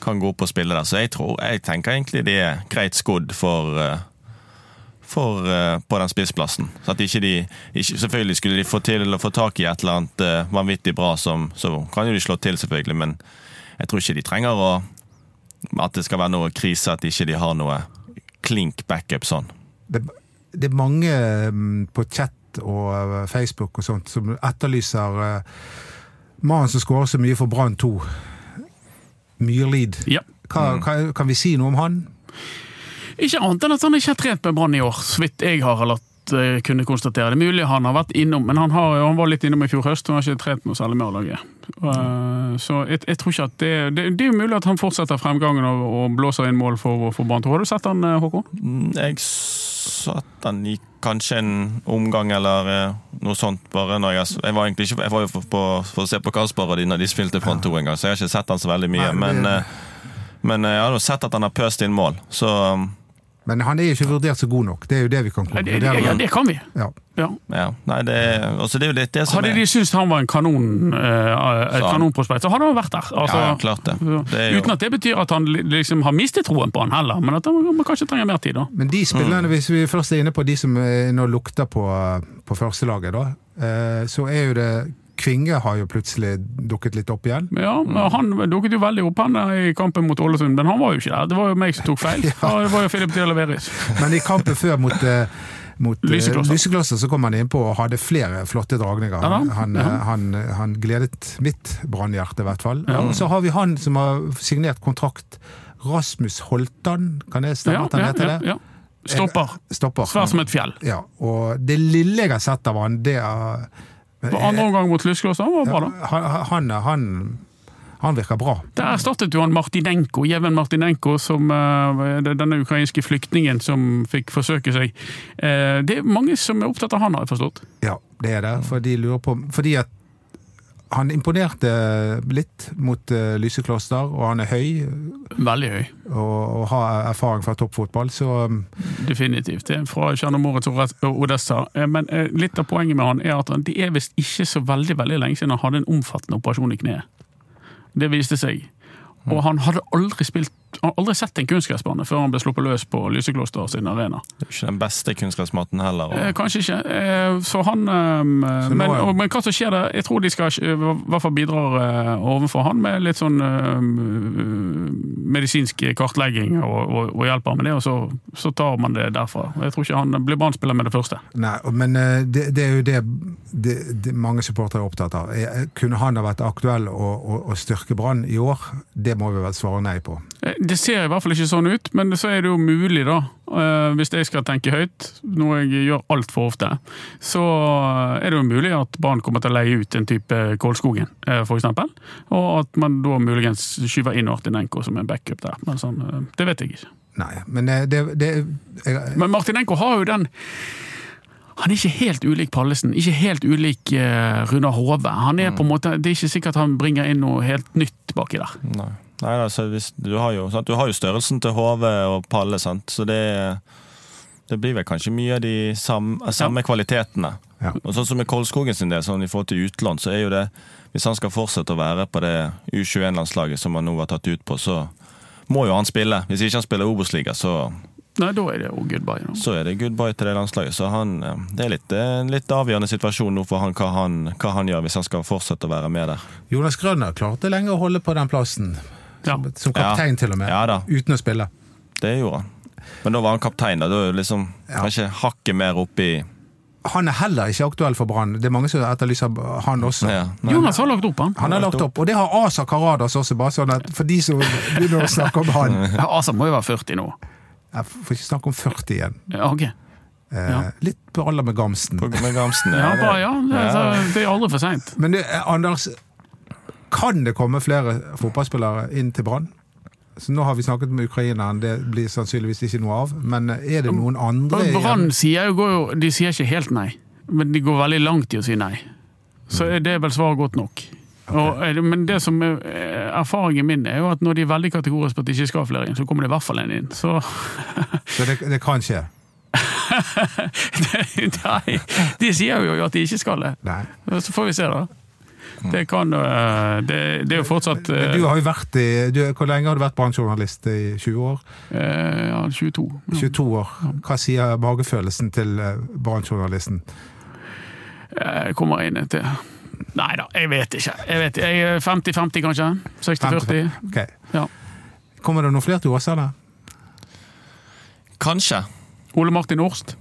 kan gå opp og spille der, så jeg tror Jeg tenker egentlig de er greit skodd for eh, for, eh, på den spissplassen. Så at ikke de, ikke, selvfølgelig skulle de få til å få tak i et eller annet eh, vanvittig bra, som, så kan jo de slå til, selvfølgelig, men jeg tror ikke de trenger å At det skal være noe krise, at ikke de har noe klink backup sånn.
det, det er mange mm, på chat og eh, Facebook og sånt som etterlyser eh, mannen som skårer så mye for Brann 2. Myrlid.
Ja.
Hva,
Mm.
hva, kan vi si noe om han?
Ikke annet enn at han ikke har trent med Brann i år, så vidt jeg har latt eh, kunne konstatere. Det er mulig han har vært innom, men han, har, jo- han var litt innom i fjor høst og har ikke trent noe særlig med A-laget. Eh, Så jeg, jeg tror ikke at det, det Det er jo mulig at han fortsetter fremgangen og, og blåser inn mål for, for Brann. Har du sett han, eh, Håkon?
Mm, Jeg satt den i kanskje en omgang eller eh, noe sånt. bare når Jeg, jeg var egentlig ikke jeg var jo for, på, for å se på Kasper og de når de spilte Front 2 en gang, så jeg har ikke sett han så veldig
Nei,
mye.
det-
men, eh, men eh, jeg har jo sett at han har pøst inn mål, så um,
Men han er jo ikke vurdert så god nok. Det er jo det vi kan
Ja, det,
konkludere
ja,
med.
det kan vi.
Ja.
Ja.
ja. Nei, det, altså, det er jo litt det som
Hadde
er
de syntes han var en kanon, eh, et
Så han-
kanonprospekt, så hadde han vært der. Altså,
Ja, klart det. det er jo,
Uten at det betyr at han li- liksom har mistet troen på han heller, men at han man kanskje trenger mer tid. da.
Men de spillerne, hvis vi først er inne på de som eh, nå lukter på, på førstelaget, da, eh, så er jo det Kvinge har jo plutselig dukket litt opp igjen.
Men Ja,
Mm.
men Han dukket jo veldig opp han der i kampen mot Ålesund, men han var jo ikke der. Det var jo meg som tok feil. ja. Det var jo Filip Dialaveris.
Men i kampen før mot, eh, mot eh,
Lyseklosser.
Lyseklosser så kom han innpå og hadde flere flotte dragninger.
Ja da,
Han, han,
ja.
eh, han, han gledet mitt brannhjerte, i hvert fall. Og så har vi han som har signert kontrakt. Rasmus Holtan, kan det stemme
Ja,
at han
ja,
heter
ja,
det?
ja. Stopper.
Stopper.
Svær som et fjell.
Ja, og det lille jeg har sett av han, det er
På andre omgang mot Lyskloster var bra, da.
han, han, han, han virker bra.
Der erstattet jo han Martinenko, Jeven Martinenko, som eh, det- denne ukrainske flyktningen som fikk forsøke seg. Eh, det er mange som er opptatt av han, har jeg forstått.
Ja, det er det. For de lurer på Fordi at han imponerte litt mot eh, Lysekloster, og han er høy
Veldig høy.
og, og har erfaring fra toppfotball, så um,
Definitivt. Det er fra Tsjernomorets og Odessa. Eh, Men eh, litt av poenget med han er at han, det er visst ikke så veldig veldig lenge siden han hadde en omfattende operasjon i kneet. Det viste seg. Og han hadde aldri spilt han hadde aldri sett en kunstgressbane før han ble sluppet løs på Lysekloster sin arena.
det er jo ikke den beste kunnskapsmaten heller.
Eh,
Og,
kanskje ikke. Eh, så han eh,
nå
men,
er-
og, men hva som skjer der? Jeg tror de skal eh, i hvert fall bidrar eh, overfor han med litt sånn eh, medisinsk kartlegging og, og, og hjelper med det, og så, så tar man det derfra. Jeg tror ikke han blir Brann-spiller med det første.
Nei, men eh, det, det er jo det, det, det mange supportere er opptatt av. Eh, Kunne han ha vært aktuell å, å, å styrke Brann i år? Det må vi vel svare nei på.
Eh, Det ser i hvert fall ikke sånn ut, men så er det jo mulig, da. Eh, Hvis jeg skal tenke høyt, noe jeg gjør altfor ofte, så er det jo mulig at Brann kommer til å leie ut en type Kolskogen, eh, for eksempel. Og at man da muligens skyver inn Martinenko som en backup der. Men sånn, eh, det vet jeg ikke.
Nei, men eh, det, det jeg,
Men Martinenko har jo den han er ikke helt ulik Pallesen, ikke helt ulik eh, Runar Hove. Han er på en måte, Det er ikke sikkert han bringer inn noe helt nytt baki der.
nei. Nei, altså, hvis, du, har jo, sant? du har jo størrelsen til Hove og Palle, sant? så det, det blir vel kanskje mye av de samme, samme kvalitetene.
Ja.
Og sånn som med Kolskogen sin del, sånn i forhold til utland, så er jo det Hvis han skal fortsette å være på det U21-landslaget som han nå var tatt ut på, så må jo han spille. Hvis ikke han spiller Obos-liga, så,
Nei, Da er det jo goodbye. Da.
så er det goodbye til det landslaget. Så han, eh, det er litt, det er en litt avgjørende situasjon nå for han hva, han hva han gjør, hvis han skal fortsette å være med der.
Jonas Grønner klarte lenge å holde på den plassen,
Ja.
som kaptein til og med,
Ja da.
uten å spille.
Det gjorde han. Men da var han kaptein, da. Da er det liksom kanskje hakket mer oppi
Han er heller ikke aktuell for Brann. Det er mange som etterlyser han også.
ja. Nei.
Jonas har lagt opp han.
Han har lagt opp, og det har Asa Karadas også, bare sånn at for de som begynner å snakke om han
Ja, Asa må jo være 40 nå.
Jeg får ikke snakke om 40 igjen.
Ja, ok.
Eh,
Ja.
Litt på alder med Gamsten.
På- Med Gamsten,
Ja,
det-
bare, ja. Det,
Ja.
så- det er aldri for seint.
Men det, eh, Anders, kan det komme flere fotballspillere inn til Brann? Så Nå har vi snakket med ukraineren, det blir sannsynligvis ikke noe av. Men er det noen andre igjen?
Brann sier jo, går jo De sier ikke helt nei, men de går veldig langt i å si nei. Så
Mm.
er det vel svaret godt nok. Og, er det- men det som er eh, erfaringen min er jo at når de er veldig kategoriske på at de ikke skal ha flere inn, så kommer det i hvert fall en inn. Så
Så det, det kan skje?
nei, de sier jo at de ikke skal det.
Nei.
Så får vi se, da. Det kan eh, Det, det er jo fortsatt eh,
Mm. Du har jo vært i, du, Hvor lenge har du vært bransjejournalist? I 20 år?
eh, ja, 22. Ja.
22 år. Hva sier magefølelsen til eh, bransjejournalisten?
Jeg kommer inn til Nei da, jeg vet ikke. Jeg vet, jeg er 50-50, kanskje? 60-40?
Ok.
Ja.
Kommer det noen flere til Åsane?
Kanskje.
Ole Martin Orst?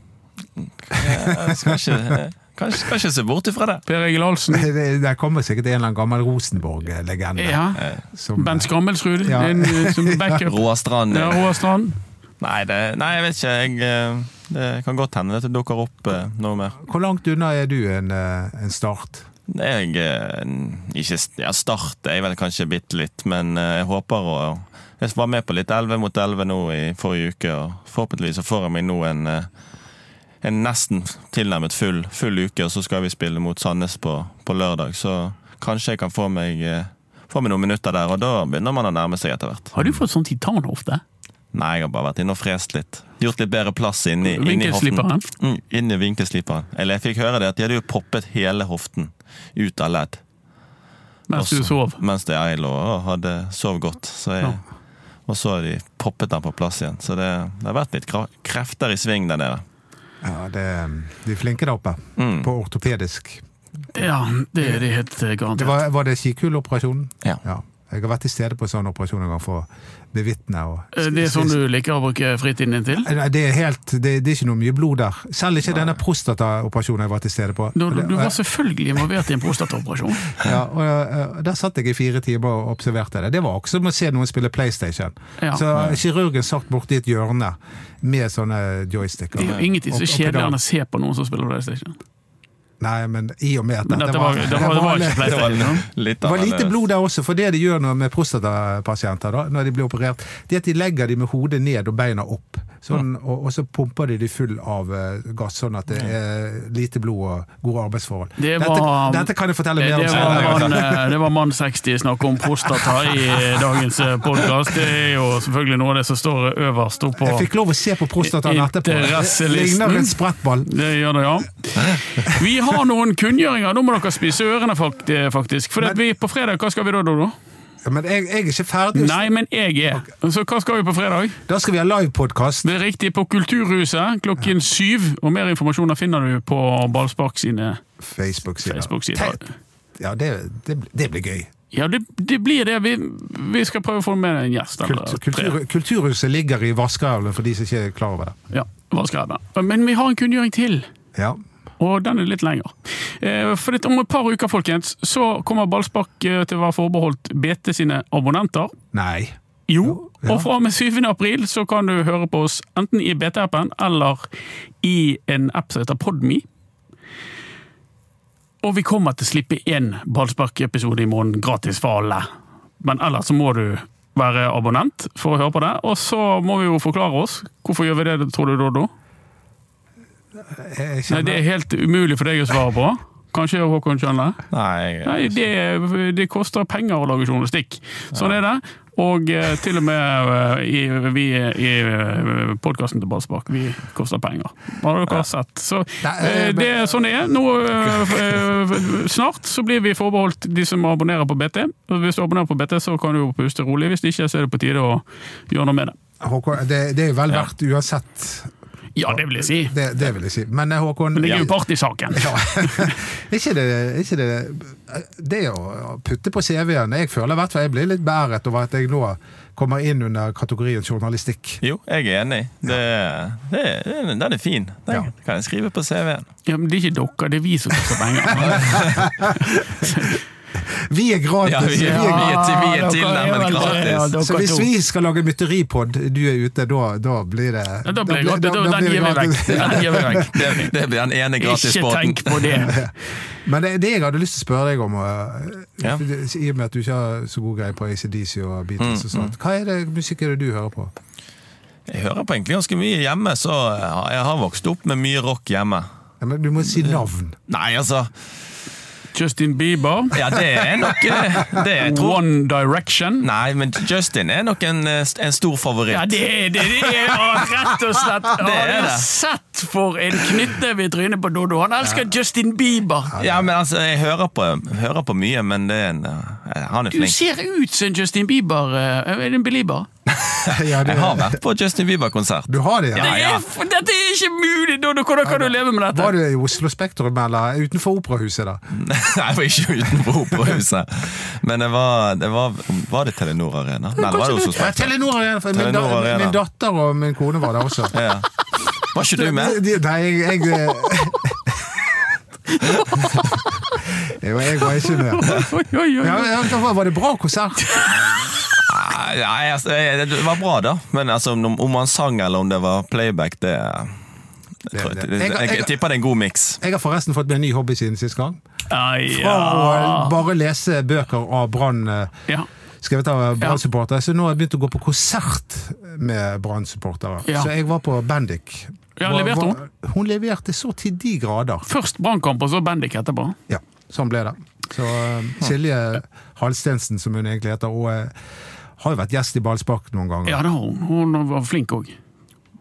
Jeg skal ikke, kanskje, skal ikke se bort ifra det.
Per Egil Ahlsen?
Det- Der kommer sikkert en eller annen gammel Rosenborg-legende.
Ja.
som-
Bent Skammelsrud?
Ja.
En, eh, som backup?
Roar Strand. eh,
Ja, Roar Strand?
Nei, det, nei, jeg vet ikke. Jeg, eh, det kan godt hende at det dukker opp eh, noe mer.
Hvor langt unna er du en, eh, en start?
Jeg eh, ikke, ja, Start er jeg vel kanskje bitte litt, men eh, jeg håper å Jeg var med på litt 11 mot 11 nå i forrige uke, og forhåpentligvis så får jeg meg nå en, eh, en nesten tilnærmet full, full uke, og så skal vi spille mot Sandnes på, på lørdag, så kanskje jeg kan få meg, eh, få meg noen minutter der, og da begynner man å nærme seg etter hvert.
Har du fått sånn titanhofte?
Nei, jeg har bare vært inne og frest litt. Gjort litt bedre plass inni, inni hoften.
Vinkelsliperen?
Mm, inni vinkelsliperen. Eller jeg fikk høre det at de hadde jo poppet hele hoften ut av ledd.
Mens du
Også.
sov?
Mens det jeg lå og hadde sov godt. Så jeg,
Ja.
og så har de poppet den på plass igjen. Så det, det har vært litt kra- krefter i sving der nede.
Ja, det, De er flinke der oppe,
Mm.
på ortopedisk.
Ja, det er det helt eh,
Det
garantert.
var, var det skikuleoperasjonen?
Ja.
ja. Jeg har vært til stede på en sånn operasjon en gang for å bevitne. Og,
Eh, Det er sånn du liker å bruke fritiden din til?
Nei, det er, helt, det, det er ikke noe mye blod der. Selv ikke denne prostataoperasjonen jeg var til stede på.
Du, du,
Og det-
du var selvfølgelig involvert i en prostataoperasjon.
Ja, og eh, Der satt jeg i fire timer og observerte det. Det var også som å se noen spille PlayStation.
Ja.
Så eh, kirurgen satt borti et hjørne med sånne joysticker.
Det er jo ingenting så
Og- og pedal.
kjedeligere enn å se på noen som spiller PlayStation.
Nei, men i og med at
Men
dette
dette var, det var, det var
det
ikke
var-
PlayStation.
litt
det var lite
annerledes.
blod der også, for det de gjør nå med prostatapasienter, da, når de blir operert, det er at de legger de med hodet ned og beina opp. Sånn, og, og så pumper de de full av eh, gass, sånn at det er lite blod og gode arbeidsforhold.
Det
dette,
var-
dette kan jeg fortelle
Det
mer om. senere.
var mann, eh, det var mann 60 snakk om prostata i eh, dagens podkast. Det er jo selvfølgelig noe av det som står eh, øverst oppe
Jeg
på
fikk lov å se på prostataen etterpå. Det
Interesselisten.
Ligner en sprettball.
det gjør det, ja. Vi har noen kunngjøringer. Nå må dere spise ørene, fakt- eh, faktisk. For det at vi, på fredag, hva skal vi da, Dodo?
Ja, Men jeg, jeg er ikke ferdig.
Nei, men jeg er. Så hva skal vi på fredag?
Da skal vi ha livepodkast.
Det er riktig på Kulturhuset klokken syv. Og mer informasjoner finner du på Ballspark sine
Facebook-sider.
Facebook-sider.
Tenk- Ja, det, det, det blir gøy.
Ja, det, det blir det. Vi, vi skal prøve å få med en gjest. eller
Kultur,
tre.
kultur, kulturhuset ligger i vaskehavlen for de som ikke er klar over det.
Ja, hva skal jeg da? Men vi har en kunngjøring til,
Ja.
og den er litt lengre. Eh, For det, om et par uker folkens, så kommer Ballspark eh, til å være forbeholdt BT sine abonnenter.
Nei.
Jo,
Ja.
og fra og med 7. april så kan du høre på oss enten i BT-appen eller i en app som heter Podme. Og vi kommer til å slippe én ballsparkepisode i måneden gratis for alle. Men ellers så må du være abonnent for å høre på det. Og så må vi jo forklare oss. Hvorfor gjør vi det, tror du, Doddo?
Jeg
Nei, det
kjenner,
er helt umulig for deg å svare på. Kanskje Håkon skjønner?
Nei,
Nei, det, det koster penger å lage journalistikk. Sånn er det. Og eh, til og med eh, i, vi i eh, podkasten til Ballspark, vi koster penger. Har dere sett. Så
Nei,
eh,
eh,
det er sånn det er. Nå, eh, eh, snart så blir vi forbeholdt de som abonnerer på BT. Og Hvis du abonnerer på BT, så kan du jo puste rolig. Hvis ikke, så er det på tide å gjøre noe med det.
eh, Håkon, det, det er jo vel verdt uansett,
Ja, det vil jeg si.
det, det vil jeg si. Men eh, Håkon
Men jeg er
ja.
jo part i saken.
ikke det, ikke det, det å putte på CV-en Jeg føler i hvert fall jeg blir litt bæret over at jeg nå kommer inn under kategorien journalistikk.
Jo, jeg er enig. Det, det, det, den er fin. Den
Ja.
kan jeg skrive på CV-en.
Ja, men det er ikke dere, det er vi som koster penger.
Vi er gratis!
Ja, vi er-
vi er
vi er
dere
tilnærmet
vel-
gratis.
ja, dere
Så hvis
to.
vi skal lage mytteripod, du er ute, da, da blir det
Ja, Da blir det gratis.
da- da
Den
blir det
gir vi vekk.
gratis.
Den gir vi vekk.
Det, det blir den ene
Ikke
gratisbåten.
tenk på det.
Men det, det jeg hadde lyst til å spørre deg om, eh,
Ja.
i og med at du ikke har så god greie på ACDC og Beatles og sånt, hva er det musikk er det du hører på?
Jeg hører på egentlig ganske mye hjemme, så jeg har vokst opp med mye rock hjemme.
Ja, men du må si navn.
Nei, altså
Justin Bieber.
Ja, det er nok eh, det jeg tror
One Direction.
Nei, men Justin er nok en, eh, st- en stor favoritt.
Ja, det er det! det er, ja, rett og slett. Ja,
Det er
jeg har
det.
Sett for en knyttneve i trynet på Dodo. Han elsker Justin Bieber.
Ja, men altså, jeg hører på, hører på mye, men det er en, eh, han er
Du
flink.
ser ut som Justin Bieber. eh, Er du en belieber?
Ja, det,
Jeg har vært på Justin Bieber-konsert.
du har det, ja?
Det
ja.
er, for- dette er ikke mulig! Dodo, hvordan kan du leve med dette?
Var du i Oslo Spektrum eller utenfor Operahuset, da?
Nei, jeg var ikke utenfor operahuset. Men det var, det var Var det Telenor Arena? Nei, det var det Oslo
Ja,
Spektrum.
Telenor Arena. for Min,
Telenor
da,
Arena.
min datter og min kone var der også.
Ja. Var ikke du med?
De- de- Nei, jeg Jeg, jeg, var- jeg var ikke med.
Oi, oi, oi.
Ja, ja, var det bra konsert?
Nei, altså, jeg- det var bra, da. Men altså, om om han sang eller om det var playback, det jeg, tror-
det-
det-
Jeg-
jeg,
jeg-
jeg tipper det er en god miks.
Jeg har forresten fått meg en ny hobby siden sist gang.
Ah,
Fra å
ja.
bare lese bøker av Brann eh,
ja.
skrevet av
Ja.
Brann-supportere. Så nå har jeg begynt å gå på konsert med Brann-supportere.
Ja.
Så jeg var på Bendik.
Ja,
Hvor-
leverte hun?
hvor- Hun leverte så til de grader.
Først Brannkamp, og så Bendik etterpå.
Ja, sånn ble det. Så eh, Silje Halstensen, som hun egentlig heter, og eh, har jo vært gjest i Ballspark noen ganger.
Ja, det har hun. Hun var flink òg.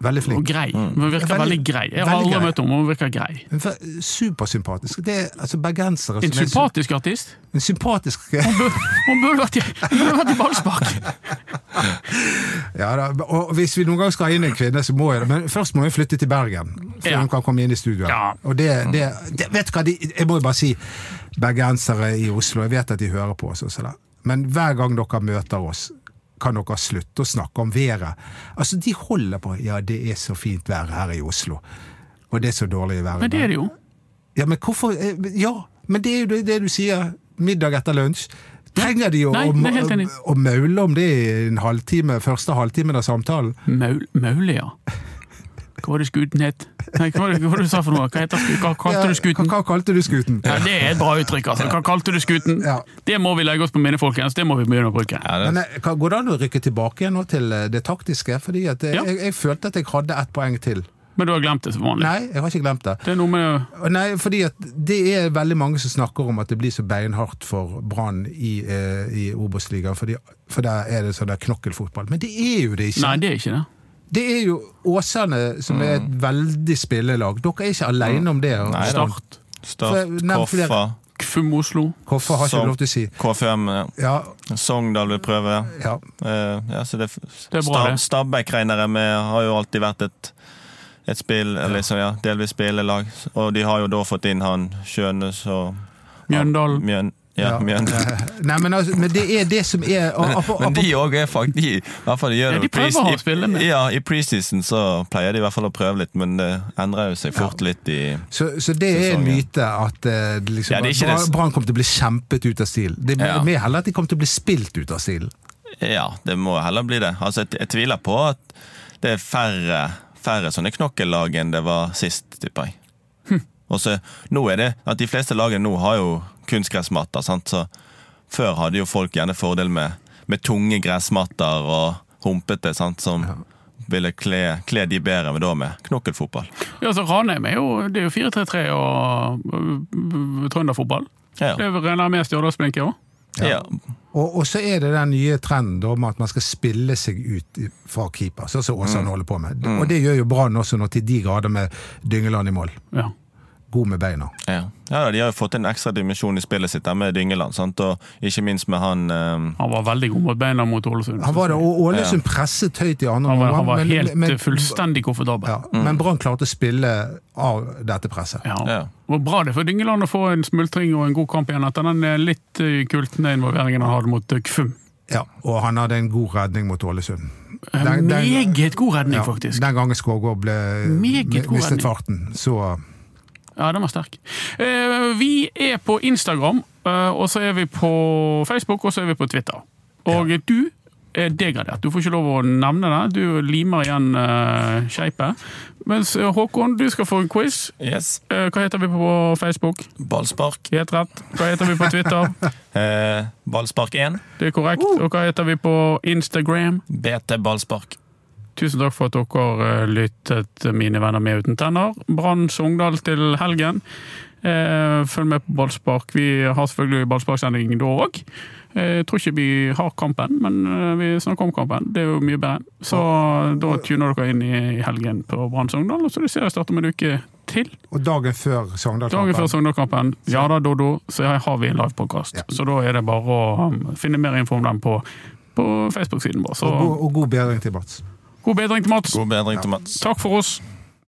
Veldig
Og
flink. Mm.
grei. Hun virker
Veldig-
veldig grei. Jeg har
veldig
aldri
grei.
møtt henne, men hun virker grei.
Hun er supersympatisk. Det er altså bergensere
En
som er så-
sympatisk artist.
en sympatisk
Hun burde vært i, hun burde vært i ballspark!
Ja da, og Hvis vi noen gang skal ha inn en kvinne, så må jeg det. Men først må vi flytte til Bergen. Før
Ja.
hun kan komme inn i studio. her.
Ja.
Og det, det, det, vet du hva, de, Jeg må jo bare si bergensere i Oslo, jeg vet at de hører på oss. og så der. Men hver gang dere møter oss, kan dere slutte å snakke om været. Altså, De holder på Ja, det er så fint vær her i Oslo. Og det er så dårlig vær. i
Men det er
Bergen.
det jo.
Ja, men hvorfor eh, Ja, men det er jo det, det du sier. Middag etter lunsj. Trenger de å,
Nei,
å,
det er helt enig.
å maule om det i en halvtime, første halvtimen av samtalen?
Maul, maule, ja. Hva var det skuten het? Nei, hva var det, hva var det du sa for noe? Hva, heter, sku- hva kalte
Ja,
du skuten?
Hva, hva kalte du skuten?
Ja, det er et bra uttrykk, altså. Hva kalte du skuten?
Ja.
Det må vi legge oss på minne, folkens. Det må vi begynne å bruke.
Ja, det,
Men eh, kan- Går det an å rykke tilbake igjen nå til eh, det taktiske? Fordi at eh,
Ja.
jeg, jeg følte at jeg hadde ett poeng til.
Men du har glemt det som vanlig.
Nei, jeg har ikke glemt det.
Det er noe med
Og Nei, fordi at Det er veldig mange som snakker om at det blir så beinhardt for Brann i, eh, i Obos-ligaen, fordi- for der er det sånn der knokkelfotball. Men det er jo det ikke.
Nei, det er ikke det.
Det er jo Åsane som er et veldig spillelag. Dere er ikke alene om det.
Mm. Nei da.
Start.
Start,
Nevn flere.
Koffa,
KFUM Oslo.
Hvorfor har ikke
Sogn-
du lov til å si?
K5, ja.
Ja,
Sogndal eh, vil prøve.
ja.
Eh, ja, så det,
Det er bra,
Stab-
det.
Stabæk regner jeg med har jo alltid vært et, et spill, eller liksom, ja, delvis spillelag. Og de har jo da fått inn han Kjønes og
Mjøndalen.
Mjøn, ja,
Ja.
Mjøndalen.
Nei, men, altså, men det er det som er og, apro-
Men de
apro-
òg er faktisk de, i hvert fall de gjør
Ja,
det
de
på pris-
prøver å
i-
spille med.
Ja, I preseason så pleier de i hvert fall å prøve litt, men det endrer jo seg fort litt i
så, så det er en
Sesongen.
myte at eh, liksom,
Ja, det er ikke
Brann-
det-
Brann kommer til å bli kjempet ut av stilen. Det er
Ja.
mer heller at de kommer til å bli spilt ut av stilen.
Ja, det må heller bli det. Altså, jeg, jeg tviler på at det er færre, færre sånne knokkellag enn det var sist, tipper jeg. Og så nå er det at de fleste lagene nå har jo kunstgressmatter, sant? så før hadde jo folk gjerne fordel med, med tunge gressmatter og humpete, sant, som ville kle, kle de bedre med da med knokkelfotball.
Ja, så Ranheim er jo Det er jo 4-3-3 og øh, øh, trønderfotball.
Ja,
Det regner jeg med Stjørdalsblinken òg.
ja.
Og, og så er det den nye trenden om at man skal spille seg ut i- fra keeper, sånn som
Mm.
Åsane holder på med. Og det gjør jo Brann også nå til de grader med Dyngeland i mål.
Ja.
God med beina.
ja. ja da, de har jo fått en ekstra dimensjon i spillet sitt der med Dyngeland, sant? og ikke minst med han eh,
Han var veldig god mot beina mot Ålesund.
Han var det, og Ålesund presset høyt i andre
Han var, han var
men-
helt
men-
eh, fullstendig komfortabel.
Ja, Men Brann klarte å spille av dette presset.
Ja.
Ja.
Det var bra det for Dyngeland å få en smultring og en god kamp igjen etter den eh, litt eh, kultende involveringen han hadde mot eh, KFUM.
Ja, og han hadde en god redning mot Ålesund.
En
Den- den-
Meget god redning,
Ja,
faktisk.
den gangen Skårgård ble
Meget
mi-
god
mistet
redning.
farten, så
Ja, den var sterk. Eh, Vi er på Instagram, eh, og så er vi på Facebook, og så er vi på Twitter. Og du er degradert. Du får ikke lov å nevne det. Du limer igjen eh, skeipet. Mens eh, Håkon, du skal få en quiz.
Yes.
Eh, Hva heter vi på Facebook?
Ballspark.
Helt rett. Hva heter vi på Twitter?
Eh, ballspark 1,
Det er korrekt. Og hva heter vi på Instagram?
BT ballspark.
Tusen takk for at eh, dere eh, lyttet, mine venner med uten tenner. Brann Sogndal til helgen. Eh, Følg med på ballspark. Vi har selvfølgelig ballsparksending da òg. Jeg tror ikke vi har kampen, men eh, vi snakker om kampen. Det er jo mye bedre. Så da tuner dere inn i helgen på Brann Sogndal, og så er det serien starter om en uke til.
Og dagen før Sogndal-kampen.
Dagen før Sogndal-kampen. Ja da, Dodo, så her har vi en livepodkast.
Ja.
Så da er det bare å um, finne mer info om den på, på Facebook-siden vår. Så
Og, god- og god bedring til Mats.
god bedring til Mats.
God bedring til Mats.
Takk for oss.